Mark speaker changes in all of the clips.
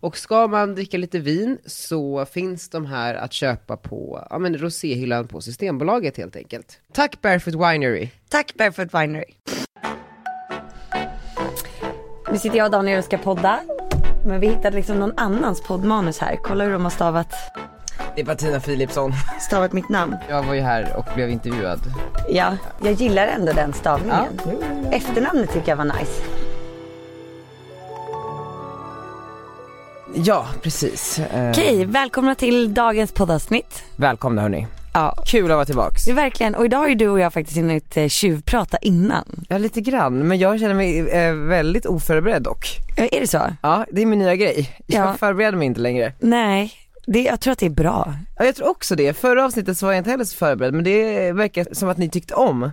Speaker 1: Och ska man dricka lite vin så finns de här att köpa på ja, men roséhyllan på Systembolaget helt enkelt. Tack Barefoot Winery!
Speaker 2: Tack Barefoot Winery.
Speaker 3: Nu sitter jag och Daniel och ska podda. Men vi hittade liksom någon annans poddmanus här. Kolla hur de har stavat,
Speaker 1: Det är Bettina Philipsson.
Speaker 2: Stavat mitt namn.
Speaker 1: Jag var ju här och blev intervjuad.
Speaker 3: ja. Jag gillar ändå den stavningen. Efternamnet tycker jag var nice.
Speaker 1: Ja, precis. Eh,
Speaker 3: Okej, välkomna till dagens poddavsnitt.
Speaker 1: välkomna hörni.
Speaker 3: Ja,
Speaker 1: Kul att vara tillbaks.
Speaker 3: det är verkligen. Och idag har ju du och jag faktiskt hunnit eh, tjuvprata innan.
Speaker 1: Ja, lite grann. Men jag känner mig eh, väldigt oförberedd dock.
Speaker 3: Eh, Är det så?
Speaker 1: Ja, det är min nya grej. Jag
Speaker 3: Ja.
Speaker 1: förbereder mig inte längre.
Speaker 3: Nej, det, jag tror att det är bra.
Speaker 1: Ja, jag tror också det. Förra avsnittet så var jag inte heller så förberedd, men det verkar som att ni tyckte om.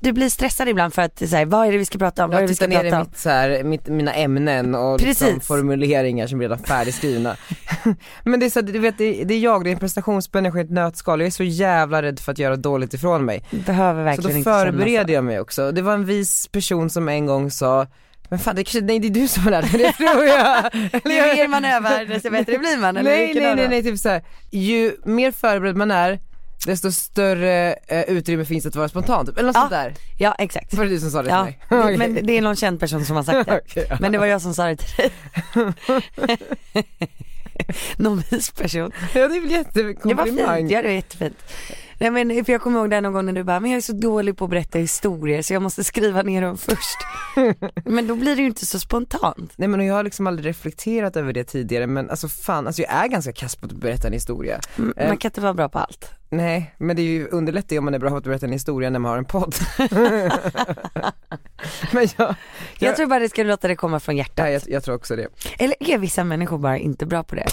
Speaker 3: Du blir stressad ibland för att det är så här, vad är det vi ska prata om? Vad är
Speaker 1: Jag
Speaker 3: det vi
Speaker 1: tittar
Speaker 3: ska
Speaker 1: ner i
Speaker 3: prata om?
Speaker 1: mitt, så här, mitt, mina ämnen och liksom
Speaker 3: Precis.
Speaker 1: formuleringar som redan är färdigskrivna. Men det är så här, du vet, det, det är jag, det är en prestationsmänniska i ett nötskal. Jag är så jävla rädd för att göra dåligt ifrån mig.
Speaker 3: Behöver
Speaker 1: Så då
Speaker 3: verkligen inte känna
Speaker 1: förbereder jag mig också. Det var en vis person som en gång sa men fan det, kanske- nej det är du som har lärt mig det tror jag. Eller
Speaker 3: Ju
Speaker 1: jag-
Speaker 3: mer man övar desto bättre blir man. Eller
Speaker 1: nej
Speaker 3: vilken
Speaker 1: nej
Speaker 3: av
Speaker 1: nej,
Speaker 3: dem?
Speaker 1: nej typ såhär, ju mer förberedd man är desto större eh, utrymme finns att vara spontan typ. eller något
Speaker 3: Ja.
Speaker 1: sånt där.
Speaker 3: Ja, exakt.
Speaker 1: Var det du som sa det
Speaker 3: Ja,
Speaker 1: till mig?
Speaker 3: det-
Speaker 1: Okej.
Speaker 3: men det är någon känd person som har sagt det.
Speaker 1: Okej, ja.
Speaker 3: Men det var jag som sa det till dig. någon vis person.
Speaker 1: Ja det är väl
Speaker 3: Det var fint,
Speaker 1: jättekomplimang.
Speaker 3: ja det var jättefint. Nej men för jag kommer ihåg det här någon gång när du bara, men jag är så dålig på att berätta historier så jag måste skriva ner dem först. men då blir det ju inte så spontant.
Speaker 1: Nej men och jag har liksom aldrig reflekterat över det tidigare men alltså fan, alltså jag är ganska kass på att berätta en historia.
Speaker 3: M-
Speaker 1: Eh,
Speaker 3: Man kan inte vara bra på allt.
Speaker 1: Nej men det är ju underlättar ju om man är bra på att berätta en historia när man har en podd. men jag,
Speaker 3: Jag tror bara det ska låta det komma från hjärtat.
Speaker 1: ja, jag, jag tror också det.
Speaker 3: Eller är vissa människor bara inte bra på det?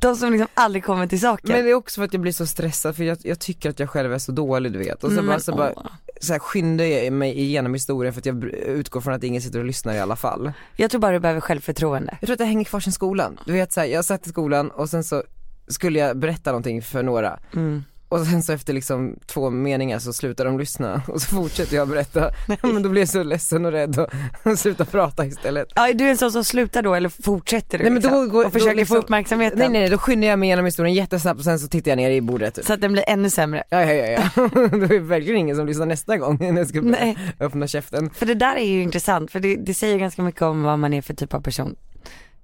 Speaker 3: De som liksom aldrig kommer till saken.
Speaker 1: Men det är också för att jag blir så stressad för jag, jag tycker att jag själv är så dålig du vet och så
Speaker 3: Nej,
Speaker 1: bara,
Speaker 3: men
Speaker 1: så, bara
Speaker 3: åh.
Speaker 1: så här skyndar jag mig igenom historien för att jag br- utgår från att ingen sitter och lyssnar i alla fall.
Speaker 3: Jag tror bara du behöver självförtroende.
Speaker 1: Jag tror att det hänger kvar sen skolan. Du vet såhär, jag satt i skolan och sen så skulle jag berätta någonting för några.
Speaker 3: Mm.
Speaker 1: Och sen så efter liksom två meningar så slutar de lyssna och så fortsätter jag berätta. Men då blir jag så ledsen och rädd och slutar prata istället.
Speaker 3: Ja, du är en sån som slutar då eller fortsätter du
Speaker 1: Nej, men då
Speaker 3: liksom,
Speaker 1: går- då
Speaker 3: och försöker
Speaker 1: liksom-
Speaker 3: få uppmärksamheten
Speaker 1: Nej nej nej, då skyndar jag mig igenom historien jättesnabbt och sen så tittar jag ner i bordet typ.
Speaker 3: så att den blir ännu sämre.
Speaker 1: Ja ja ja ja, det är verkligen ingen som lyssnar nästa gång när jag ska
Speaker 3: Nej.
Speaker 1: öppna käften.
Speaker 3: För det där är ju intressant för det, det säger ganska mycket om vad man är för typ av person.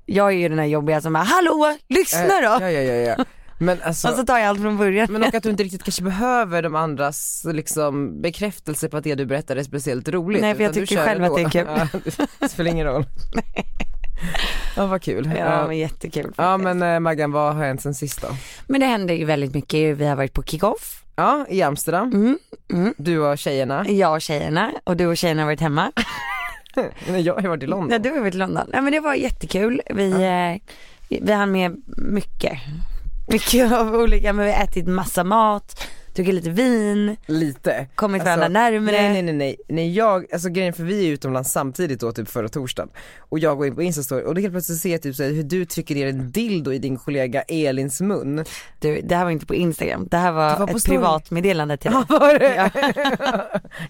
Speaker 3: Jag är ju den här jobbiga som bara, hallå lyssna
Speaker 1: Eh,
Speaker 3: då!
Speaker 1: Ja ja ja ja. Men alltså,
Speaker 3: och så tar jag allt från början.
Speaker 1: men och att du inte riktigt kanske behöver de andras liksom bekräftelse på att det du berättar är speciellt roligt.
Speaker 3: Nej, för jag
Speaker 1: utan du
Speaker 3: tycker
Speaker 1: kör
Speaker 3: själv att det är
Speaker 1: ändå. Ja, det spelar ingen roll. Ja vad kul.
Speaker 3: Ja men jättekul.
Speaker 1: ja
Speaker 3: faktiskt.
Speaker 1: men eh, Maggan vad har hänt sen sist då?
Speaker 3: men det händer ju väldigt mycket, vi har varit på kick-off,
Speaker 1: Ja i Amsterdam,
Speaker 3: Mm, mm.
Speaker 1: du och tjejerna.
Speaker 3: jag och tjejerna och du och tjejerna har varit hemma.
Speaker 1: Nej, jag har ju varit i London.
Speaker 3: Ja, du har varit i London. Nej men det var jättekul. Vi, eh, vi hann med mycket. Mycket av olika, men vi har ätit massa mat, druckit lite vin,
Speaker 1: Lite.
Speaker 3: kommit
Speaker 1: Alltså,
Speaker 3: varandra närmare.
Speaker 1: Nej nej nej nej, nej jag, alltså grejen för vi är utomlands samtidigt då typ förra torsdagen och jag går in på instastory och då helt plötsligt ser jag typ så här, hur du trycker ner en dildo i din kollega Elins mun.
Speaker 3: Du, det här var inte på Instagram, det här var,
Speaker 1: Det var på
Speaker 3: ett
Speaker 1: story.
Speaker 3: privatmeddelande till dig.
Speaker 1: Var det?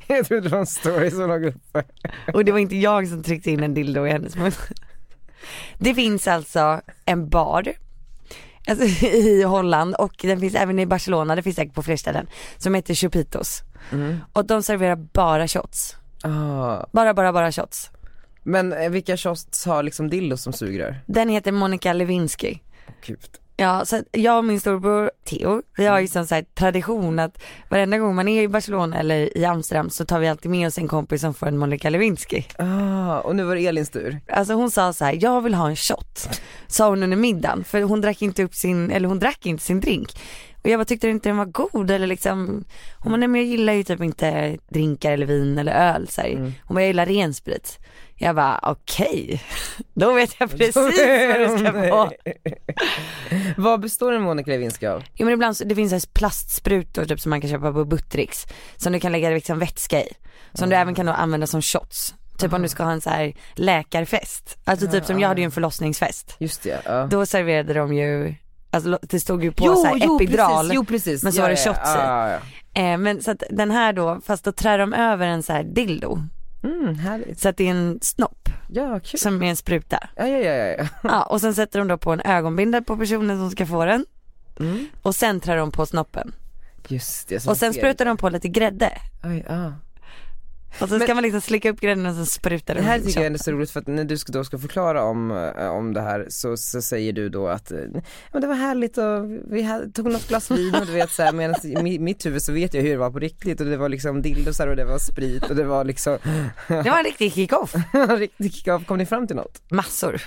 Speaker 1: jag trodde det var en story som låg uppe.
Speaker 3: Och det var inte jag som tryckte in en dildo i hennes mun. Det finns alltså en bar alltså, i Holland och den finns även i Barcelona, det finns säkert på fler ställen, som heter Chupitos.
Speaker 1: Mm.
Speaker 3: Och de serverar bara shots.
Speaker 1: Ah,
Speaker 3: Bara, bara, bara shots.
Speaker 1: Men eh, vilka kiosks har liksom dildos som sugrör?
Speaker 3: Den heter Monica Lewinsky.
Speaker 1: Gud.
Speaker 3: Ja, så att jag och min storbror Theo, vi har ju som så här tradition att varenda gång man är i Barcelona eller i Amsterdam så tar vi alltid med oss en kompis som får en Monica Lewinsky.
Speaker 1: Ah, och nu var det Elins tur.
Speaker 3: Alltså hon sa så här, jag vill ha en shot, sa hon under middagen för hon drack inte upp sin, eller hon drack inte sin drink. Och jag bara tyckte inte den var god eller liksom, hon bara, nej men jag gillar ju typ inte drinkar eller vin eller öl så här. Hon bara, jag gillar ren sprit. Jag bara okej, då vet jag precis vad det ska vara.
Speaker 1: Vad består en Monica Lewinsky av?
Speaker 3: Jo men ibland så, det finns så här plastsprutor typ som man kan köpa på Buttricks som du kan lägga liksom vätska i. Som
Speaker 1: Ah.
Speaker 3: du även kan då använda som shots. Typ om du ska ha en så här läkarfest. Alltså typ som jag hade ju
Speaker 1: Ah.
Speaker 3: en förlossningsfest.
Speaker 1: Just det, ja.
Speaker 3: Då serverade de ju, alltså lo- det stod ju på
Speaker 1: jo,
Speaker 3: så här
Speaker 1: jo,
Speaker 3: epidural.
Speaker 1: Precis, jo precis.
Speaker 3: men så
Speaker 1: Ja,
Speaker 3: var det
Speaker 1: ja,
Speaker 3: shots i.
Speaker 1: ja, ja,
Speaker 3: Eh, men så att den här då, fast då trär de över en så här dildo.
Speaker 1: ja. Mm, härligt.
Speaker 3: Så att det är en snopp
Speaker 1: Ja, kul.
Speaker 3: som är en spruta.
Speaker 1: Ja, ja, ja, ja.
Speaker 3: Ja, och sen sätter de då på en ögonbindel på personen som ska få den.
Speaker 1: Mm.
Speaker 3: Och sen trär de på snoppen.
Speaker 1: Just det. så
Speaker 3: Och
Speaker 1: man
Speaker 3: sen
Speaker 1: ser
Speaker 3: sprutar de på lite grädde.
Speaker 1: det. Oj, ah.
Speaker 3: Och sen
Speaker 1: Men-
Speaker 3: ska man liksom slicka upp grädden och sen spruta
Speaker 1: Det
Speaker 3: den.
Speaker 1: här tycker jag är
Speaker 3: liksom.
Speaker 1: ändå så roligt för att när du ska, då ska förklara om, eh, om det här så, så säger du då att eh, ja, men det var härligt och vi hade, tog något glas vin och du vet så här, medan i mi- mitt huvud så vet jag hur det var på riktigt och det var liksom dildosar och det var sprit och det var liksom
Speaker 3: Det var en riktig kick-off.
Speaker 1: riktig kick-off. Kom ni fram till något?
Speaker 3: Massor.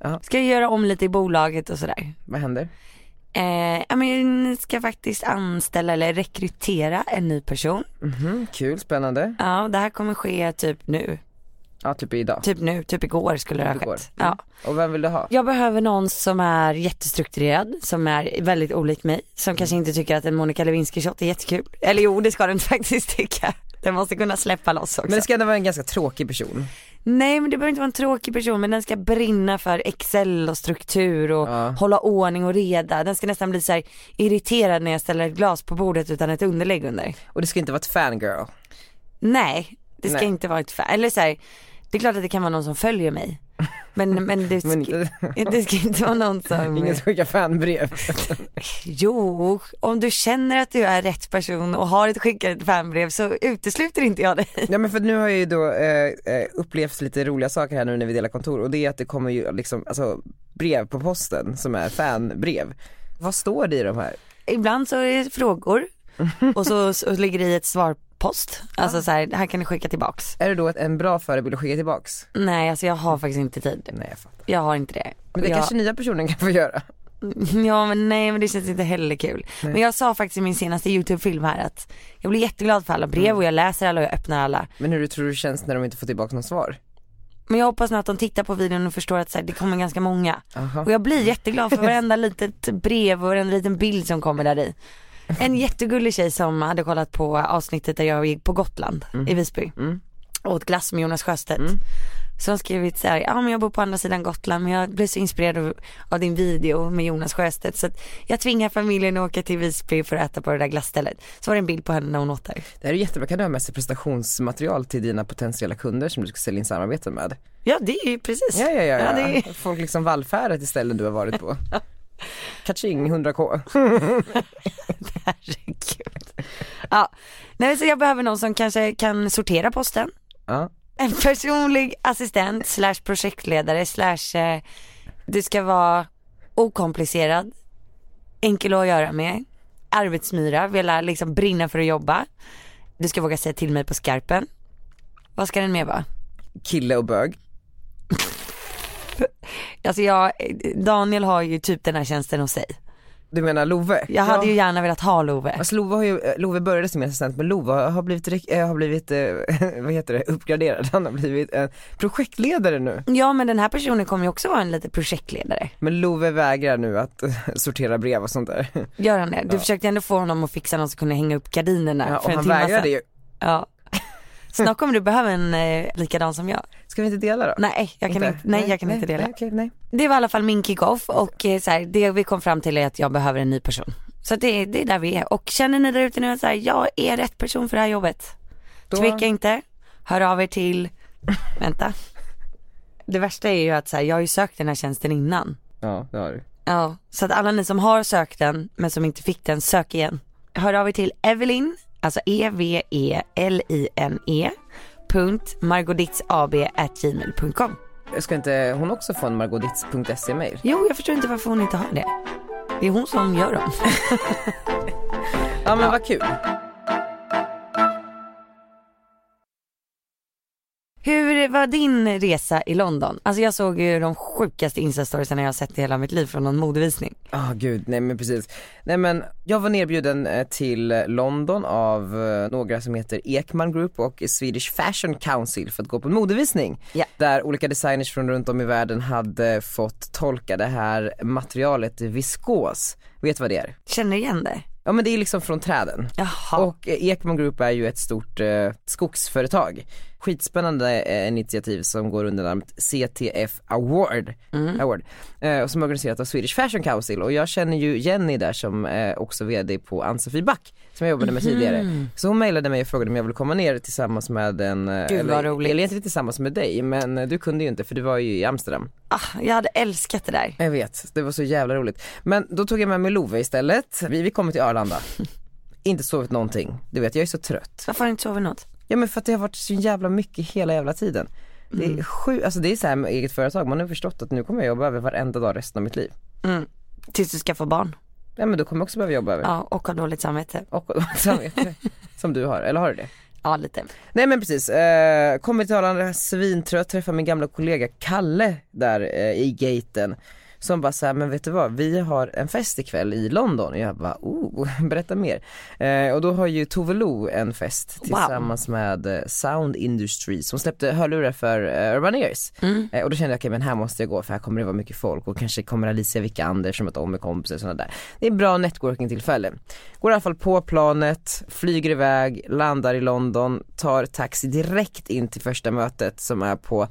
Speaker 1: Ja.
Speaker 3: Ska jag göra om lite i bolaget och sådär.
Speaker 1: Vad händer?
Speaker 3: Eh, ja, men jag ska faktiskt anställa eller rekrytera en ny person.
Speaker 1: Mhm, kul, spännande.
Speaker 3: Ja, och det här kommer ske typ nu.
Speaker 1: Ja, typ idag.
Speaker 3: Typ nu, typ igår skulle det ha
Speaker 1: Igår.
Speaker 3: skett. Ja.
Speaker 1: Och vem vill du ha?
Speaker 3: Jag behöver någon som är jättestrukturerad, som är väldigt olik mig, som kanske inte tycker att en Monica Lewinsky-shot är jättekul. Eller jo, det ska den faktiskt tycka. Den måste kunna släppa loss också.
Speaker 1: Men det ska ändå vara en ganska tråkig person.
Speaker 3: Nej men det behöver inte vara en tråkig person men den ska brinna för excel och struktur och hålla ordning och reda. Den ska nästan bli så här irriterad när jag ställer ett glas på bordet utan ett underlägg under.
Speaker 1: Och det ska inte vara ett fangirl.
Speaker 3: Nej, det ska
Speaker 1: Nej.
Speaker 3: inte vara ett fan. Eller så här, det är klart att det kan vara någon som följer mig. Men, men, det, ska,
Speaker 1: Men inte,
Speaker 3: det ska inte vara någon som...
Speaker 1: ingen som skickar fanbrev.
Speaker 3: Jo, om du känner att du är rätt person och har ett skickat fanbrev så utesluter inte jag dig.
Speaker 1: Ja men för nu har jag ju då eh, eh, upplevt lite roliga saker här nu när vi delar kontor och det är att det kommer ju liksom, alltså brev på posten som är fanbrev. Vad står det i de här?
Speaker 3: Ibland så är det frågor och så, så ligger det i ett svarpost. Alltså så här, det här kan ni skicka tillbaks.
Speaker 1: Är det då ett, en bra förebild att skicka tillbaks?
Speaker 3: Nej alltså jag har faktiskt inte tid.
Speaker 1: Nej jag fattar.
Speaker 3: Jag har inte det.
Speaker 1: Men det
Speaker 3: jag,
Speaker 1: kanske nya personen kan få göra.
Speaker 3: Ja men nej men det känns inte heller kul. Men jag sa faktiskt i min senaste YouTube-film här att jag blir jätteglad för alla brev och jag läser alla och jag öppnar alla.
Speaker 1: Men hur tror du det känns när de inte får tillbaka något svar?
Speaker 3: Men jag hoppas nu att de tittar på videon och förstår att så här, det kommer ganska många.
Speaker 1: Aha.
Speaker 3: Och jag blir jätteglad för varenda litet brev och varenda liten bild som kommer där i. En jättegullig tjej som hade kollat på avsnittet där jag gick på Gotland i Visby. Och åt glass med Jonas Sjöstedt. Så hon skrivit så här, ja men jag bor på andra sidan Gotland men jag blev så inspirerad av, av din video med Jonas Sjöstedt så att jag tvingar familjen att åka till Visby för att äta på det där glasstället. Så var det en bild på henne när hon åt där.
Speaker 1: Det här är jättebra, kan du ha med sig prestationsmaterial till dina potentiella kunder som du ska sälja in samarbete med?
Speaker 3: Ja det är ju precis.
Speaker 1: Ja ja ja, ja.
Speaker 3: det är...
Speaker 1: folk liksom vallfärdat till ställen du har varit på. Catching 100k.
Speaker 3: Herregud. Ja. Nej, så jag behöver någon som kanske kan sortera posten.
Speaker 1: Ja.
Speaker 3: En personlig assistent slash projektledare slash eh, du ska vara okomplicerad, enkel att göra med, arbetsmyra, vilja liksom brinna för att jobba. Du ska våga säga till mig på skarpen. Vad ska den mer vara?
Speaker 1: Kille och bög.
Speaker 3: Alltså jag, Daniel har ju typ den här tjänsten hos sig.
Speaker 1: Du menar Love?
Speaker 3: Jag hade ju gärna velat ha Love.
Speaker 1: Alltså Love, har ju, eh, Love började som assistent men Love har- har blivit, direkt- eh, har blivit eh, vad heter det, uppgraderad. Han har blivit eh, projektledare nu.
Speaker 3: Ja men den här personen kommer ju också vara en lite projektledare.
Speaker 1: Men Love vägrar nu att eh, sortera brev och sånt där.
Speaker 3: Gör han det? Du försökte ändå få honom att fixa någon som kunde hänga upp gardinerna
Speaker 1: Ja,
Speaker 3: för
Speaker 1: och
Speaker 3: en
Speaker 1: han
Speaker 3: timme
Speaker 1: vägrade
Speaker 3: sedan.
Speaker 1: ju.
Speaker 3: Ja. Snart kommer du behöva en eh, likadan som jag.
Speaker 1: Ska vi inte dela då?
Speaker 3: Nej, jag kan inte, nej, jag kan inte dela.
Speaker 1: Nej, okej, nej.
Speaker 3: Det var i alla fall min kick-off och eh, så här, det vi kom fram till är att jag behöver en ny person. Så att det, det är där vi är. Och känner ni där ute nu att så här, jag är rätt person för det här jobbet.
Speaker 1: Då-
Speaker 3: Tveka inte, hör av er till, vänta. Det värsta är ju att så här, jag har ju sökt den här tjänsten innan.
Speaker 1: Ja, det har du.
Speaker 3: Ja, så att alla ni som har sökt den men som inte fick den, sök igen. Hör av er till Evelyn, alltså E E-V-E-L-I-N-E, punkt margoditsab at gmail.com.
Speaker 1: Ska inte hon också få en margodits.se mail?
Speaker 3: Jo, jag förstår inte varför hon inte har det. Det är hon som gör dem.
Speaker 1: Ja men vad kul.
Speaker 3: Hur var din resa i London? Alltså jag såg ju de sjukaste instastoriesen jag har sett i hela mitt liv från någon modevisning.
Speaker 1: Ah gud, nej men precis. Nej men jag var nerbjuden eh, till London av eh, några som heter Ekman Group och Swedish Fashion Council för att gå på en modevisning.
Speaker 3: Ja.
Speaker 1: Där olika designers från runt om i världen hade fått tolka det här materialet viskos. Vet du vad det är?
Speaker 3: Känner igen det?
Speaker 1: Ja men det är liksom från träden.
Speaker 3: Jaha.
Speaker 1: Och eh, Ekman Group är ju ett stort eh, skogsföretag. Skitspännande eh, initiativ som går under namnet CTF Award.
Speaker 3: Mm.
Speaker 1: Award. Eh, och som är organiserat av Swedish Fashion Council och jag känner ju Jenny där som eh, också VD på Ann-Sofie Back som jag jobbade
Speaker 3: Mhm.
Speaker 1: med tidigare. Så hon mejlade mig och frågade om jag ville komma ner tillsammans med en, eh,
Speaker 3: Gud, vad
Speaker 1: eller,
Speaker 3: roligt.
Speaker 1: eller egentligen tillsammans med dig men eh, du kunde ju inte för du var ju i Amsterdam.
Speaker 3: Ah, jag hade älskat det där.
Speaker 1: Jag vet, det var så jävla roligt. Men då tog jag med mig Love istället. Vi, vi kommer till Arlanda. Inte sovit någonting. Du vet, jag är så trött.
Speaker 3: Varför har du inte sovit något?
Speaker 1: Ja men för att det har varit så jävla mycket hela jävla tiden. Det
Speaker 3: Mm.
Speaker 1: är sju, alltså det är så här med eget företag, man har förstått att nu kommer jag jobba över varenda dag resten av mitt liv.
Speaker 3: Tills du skaffar barn.
Speaker 1: Ja men då kommer jag också behöva jobba över.
Speaker 3: Ja, och har dåligt samvete.
Speaker 1: Och samvete. Som du har, eller har du det?
Speaker 3: Ja, lite.
Speaker 1: Nej men precis, eh, kommer till Arlanda svintrött, träffar min gamla kollega Kalle där eh, i gaten. Som bara såhär, men vet du vad, vi har en fest ikväll i London. Och jag bara, oh, berätta mer. Eh, och då har ju Tove Lo en fest
Speaker 3: Wow.
Speaker 1: tillsammans med eh, Sound Industries. Hon släppte hörlurar för eh, Urban Ears. Eh, och då kände jag, okej men här måste jag gå för här kommer det vara mycket folk. Och kanske kommer Alicia Vikander som ett om med kompisar och sådana där. Det är bra networking-tillfälle. Går i alla fall på planet, flyger iväg, landar i London, tar taxi direkt in till första mötet som är på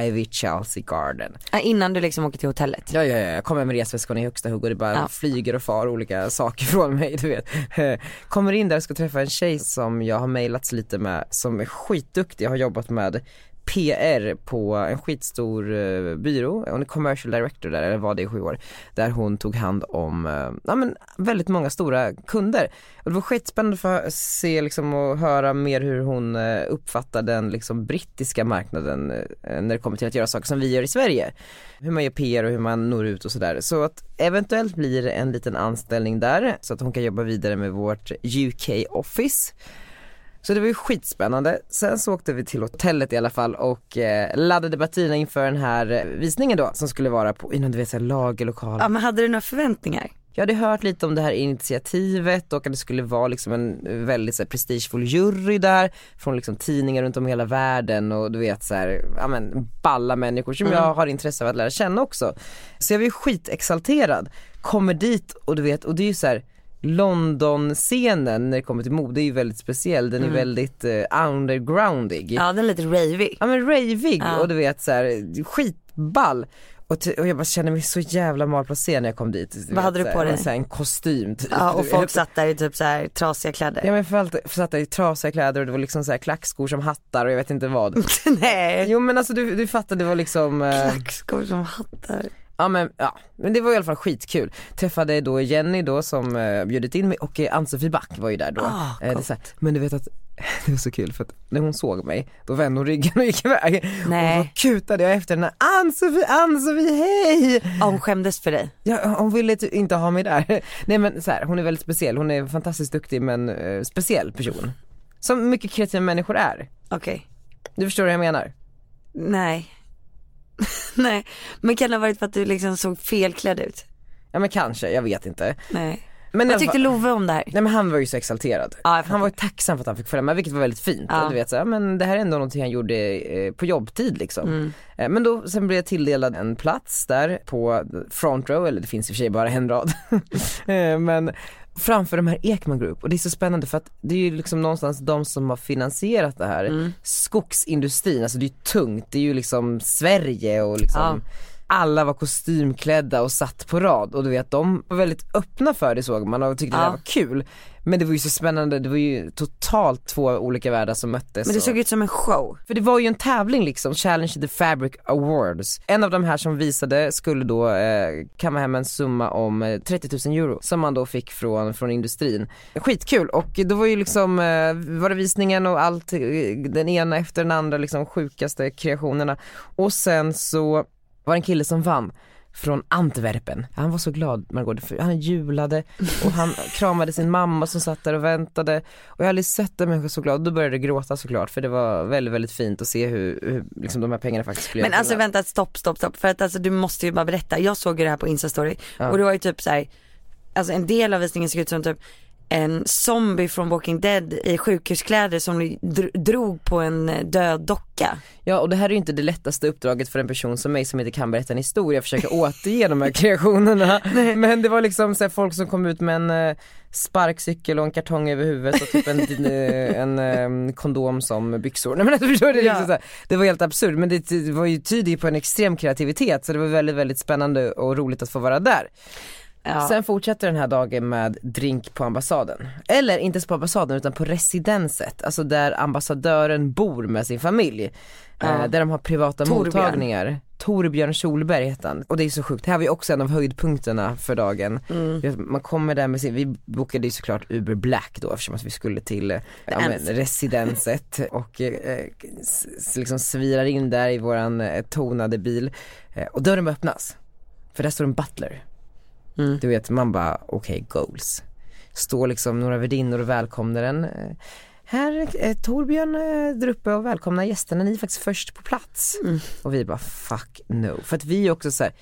Speaker 1: Ivy Chelsea Garden.
Speaker 3: Ja, innan du liksom åker till hotellet.
Speaker 1: Ja, ja, ja. Jag kommer med resväskan i högsta hugg och det bara
Speaker 3: Ja.
Speaker 1: flyger och far olika saker från mig, du vet. Kommer in där och ska träffa en tjej som jag har mejlats lite med, som är skitduktig, Jag har jobbat med PR på en skitstor eh, byrå, hon är commercial director där, eller var det i sju år, där hon tog hand om, eh, ja men väldigt många stora kunder. Och det var skitspännande för att se liksom och höra mer hur hon eh, uppfattar den liksom brittiska marknaden eh, när det kommer till att göra saker som vi gör i Sverige hur man gör PR och hur man når ut och sådär. Så att eventuellt blir det en liten anställning där så att hon kan jobba vidare med vårt UK office. Så det var ju skitspännande. Sen så åkte vi till hotellet i alla fall och eh, laddade batterierna inför den här eh, visningen då som skulle vara på, i någon du vet såhär lagerlokal.
Speaker 3: Ja, men hade du några förväntningar?
Speaker 1: Jag hade hört lite om det här initiativet och att det skulle vara liksom en väldigt så här, prestigefull jury där från liksom tidningar runt om i hela världen och du vet så här, ja men balla människor som jag har intresse av att lära känna också. Så jag var ju skitexalterad, kommer dit och du vet, och det är ju så här London-scenen när det kommer till mode är ju väldigt speciell, den är väldigt eh, undergroundig.
Speaker 3: Ja, den är lite ravig.
Speaker 1: Ja men ravig och du vet så här, skitball. Och, t- och jag bara kände mig så jävla malplacerad när jag kom dit. vet,
Speaker 3: hade du
Speaker 1: så här,
Speaker 3: på dig?
Speaker 1: en- Så här, en kostym typ.
Speaker 3: Ja, och
Speaker 1: du
Speaker 3: folk
Speaker 1: vet.
Speaker 3: satt där i typ så här trasiga kläder.
Speaker 1: Ja men för allt, för satt där i trasiga kläder och det var liksom så här klackskor som hattar och jag vet inte vad.
Speaker 3: Nej.
Speaker 1: Jo men alltså du, du fattar det var liksom eh,
Speaker 3: Klackskor som hattar.
Speaker 1: Ja men, ja. men det var i alla fall skitkul. Träffade då Jenny då som eh, bjudit in mig och eh, Ann-Sofie Back var ju där då.
Speaker 3: Ah,
Speaker 1: Eh, det är så här, men du vet att det var så kul för att när hon såg mig då vände hon ryggen och gick iväg.
Speaker 3: Nej.
Speaker 1: Och så kutade jag efter henne, Ann-Sofie, Ann-Sofie hej!
Speaker 3: Ja, hon skämdes för dig.
Speaker 1: Ja, hon ville ty- inte ha mig där. Nej men så här, hon är väldigt speciell, hon är en fantastiskt duktig men eh, speciell person. Som mycket kreativa människor är.
Speaker 3: Okej.
Speaker 1: Du förstår vad jag menar?
Speaker 3: Nej. Nej. Men kan det ha varit för att du liksom såg felklädd ut?
Speaker 1: Ja men kanske, jag vet inte.
Speaker 3: Nej.
Speaker 1: Men i alla
Speaker 3: Vad tyckte
Speaker 1: fall-
Speaker 3: Love om det här?
Speaker 1: Nej men han var ju så exalterad.
Speaker 3: Ja, jag fattar.
Speaker 1: han var ju tacksam för att han fick följa med vilket var väldigt fint.
Speaker 3: Ja.
Speaker 1: Och Du vet så här, men det här är ändå någonting han gjorde eh, på jobbtid liksom.
Speaker 3: Mm.
Speaker 1: Eh, Men då, sen blev jag tilldelad en plats där på front row, eller det finns i och för sig bara en rad. Eh, men framför de här Ekman Group och det är så spännande för att det är ju liksom någonstans de som har finansierat det
Speaker 3: Mm.
Speaker 1: här. Skogsindustrin, alltså det är ju tungt, det är ju liksom Sverige och liksom alla var kostymklädda och satt på rad och du vet de var väldigt öppna för det såg man och tyckte det
Speaker 3: Ja.
Speaker 1: där var kul. Men det var ju så spännande, det var ju totalt två olika världar som möttes.
Speaker 3: Men det
Speaker 1: och-
Speaker 3: såg ut som en show.
Speaker 1: För det var ju en tävling liksom, Challenge the Fabric Awards. En av de här som visade skulle då eh, kamma hem en summa om eh, 30 000 euro som man då fick från, från industrin. Skitkul och då var ju liksom, eh, var det visningen och allt, eh, den ena efter den andra liksom sjukaste kreationerna. Och sen så var det en kille som vann från Antwerpen. Han var så glad Margot, för han julade och han kramade sin mamma som satt där och väntade och jag har aldrig sett en människa så glad, då började jag gråta såklart för det var väldigt väldigt fint att se hur, hur liksom de här pengarna faktiskt blev
Speaker 3: Men alltså vänta stopp stopp stopp för att alltså du måste ju bara berätta. Jag såg ju det här på instastory
Speaker 1: Ja.
Speaker 3: och det var ju typ så här, alltså en del av visningen såg ut som typ en zombie från Walking Dead i sjukhuskläder som dr- drog på en död docka.
Speaker 1: Ja och det här är ju inte det lättaste uppdraget för en person som mig som inte kan berätta en historia, försöka återge de här kreationerna. Men det var liksom så här, folk som kom ut med en eh, sparkcykel och en kartong över huvudet och typ en, eh, en eh, kondom som byxor. Nej men alltså, förstår du? Det, är liksom så här, det var helt absurt men det, det var ju tydigt på en extrem kreativitet så det var väldigt väldigt spännande och roligt att få vara där.
Speaker 3: Ja.
Speaker 1: Sen fortsätter den här dagen med drink på ambassaden. Eller inte ens på ambassaden utan på residenset, alltså där ambassadören bor med sin familj. Eh, där de har privata
Speaker 3: Torbjörn.
Speaker 1: mottagningar. Torbjörn Solberg heter han. Och det är så sjukt, det här var ju också en av höjdpunkterna för dagen. Man kommer där med sin, vi bokade ju såklart Uber Black då eftersom att vi skulle till eh, ja, men, residenset och eh, eh, s- s- liksom svirar in där i våran eh, tonade bil. Eh, och dörren bara öppnas. För där står en butler. Du vet man bara okej goals. Står liksom några värdinnor och välkomnar den. Eh, Här är Torbjörn eh, där uppe och välkomnar gästerna, ni är faktiskt först på plats.
Speaker 3: Mm.
Speaker 1: Och vi bara fuck no. För att vi är också så här,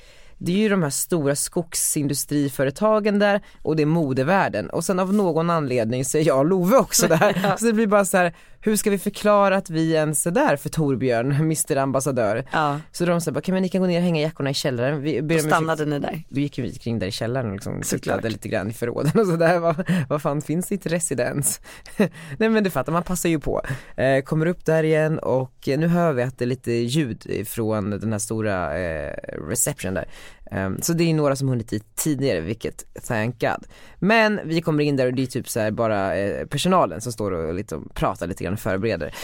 Speaker 1: det är ju de här stora skogsindustriföretagen där och det är modevärlden. Och sen av någon anledning så är jag och Love också där. Så det blir bara så här, hur ska vi förklara att vi ens är där för Torbjörn, Mr Ambassadör?
Speaker 3: Ja.
Speaker 1: Så de sa bara, kan men ni kan gå ner och hänga jackorna i källaren. Vi ber
Speaker 3: Då
Speaker 1: om ursäkt
Speaker 3: stannade ni där.
Speaker 1: då gick ju vi kring där i källaren och liksom tittade
Speaker 3: Såklart.
Speaker 1: lite grann i förråden och sådär. Vad, vad fan finns ditt residens? Nej men du fattar, man passar ju på. Eh, kommer upp där igen och eh, nu hör vi att det är lite ljud från den här stora eh, reception där. Eh, så det är några som hunnit dit tidigare vilket, thank God. Men vi kommer in där och det är typ så här bara eh, personalen som står och lite, pratar lite grann och förbereder.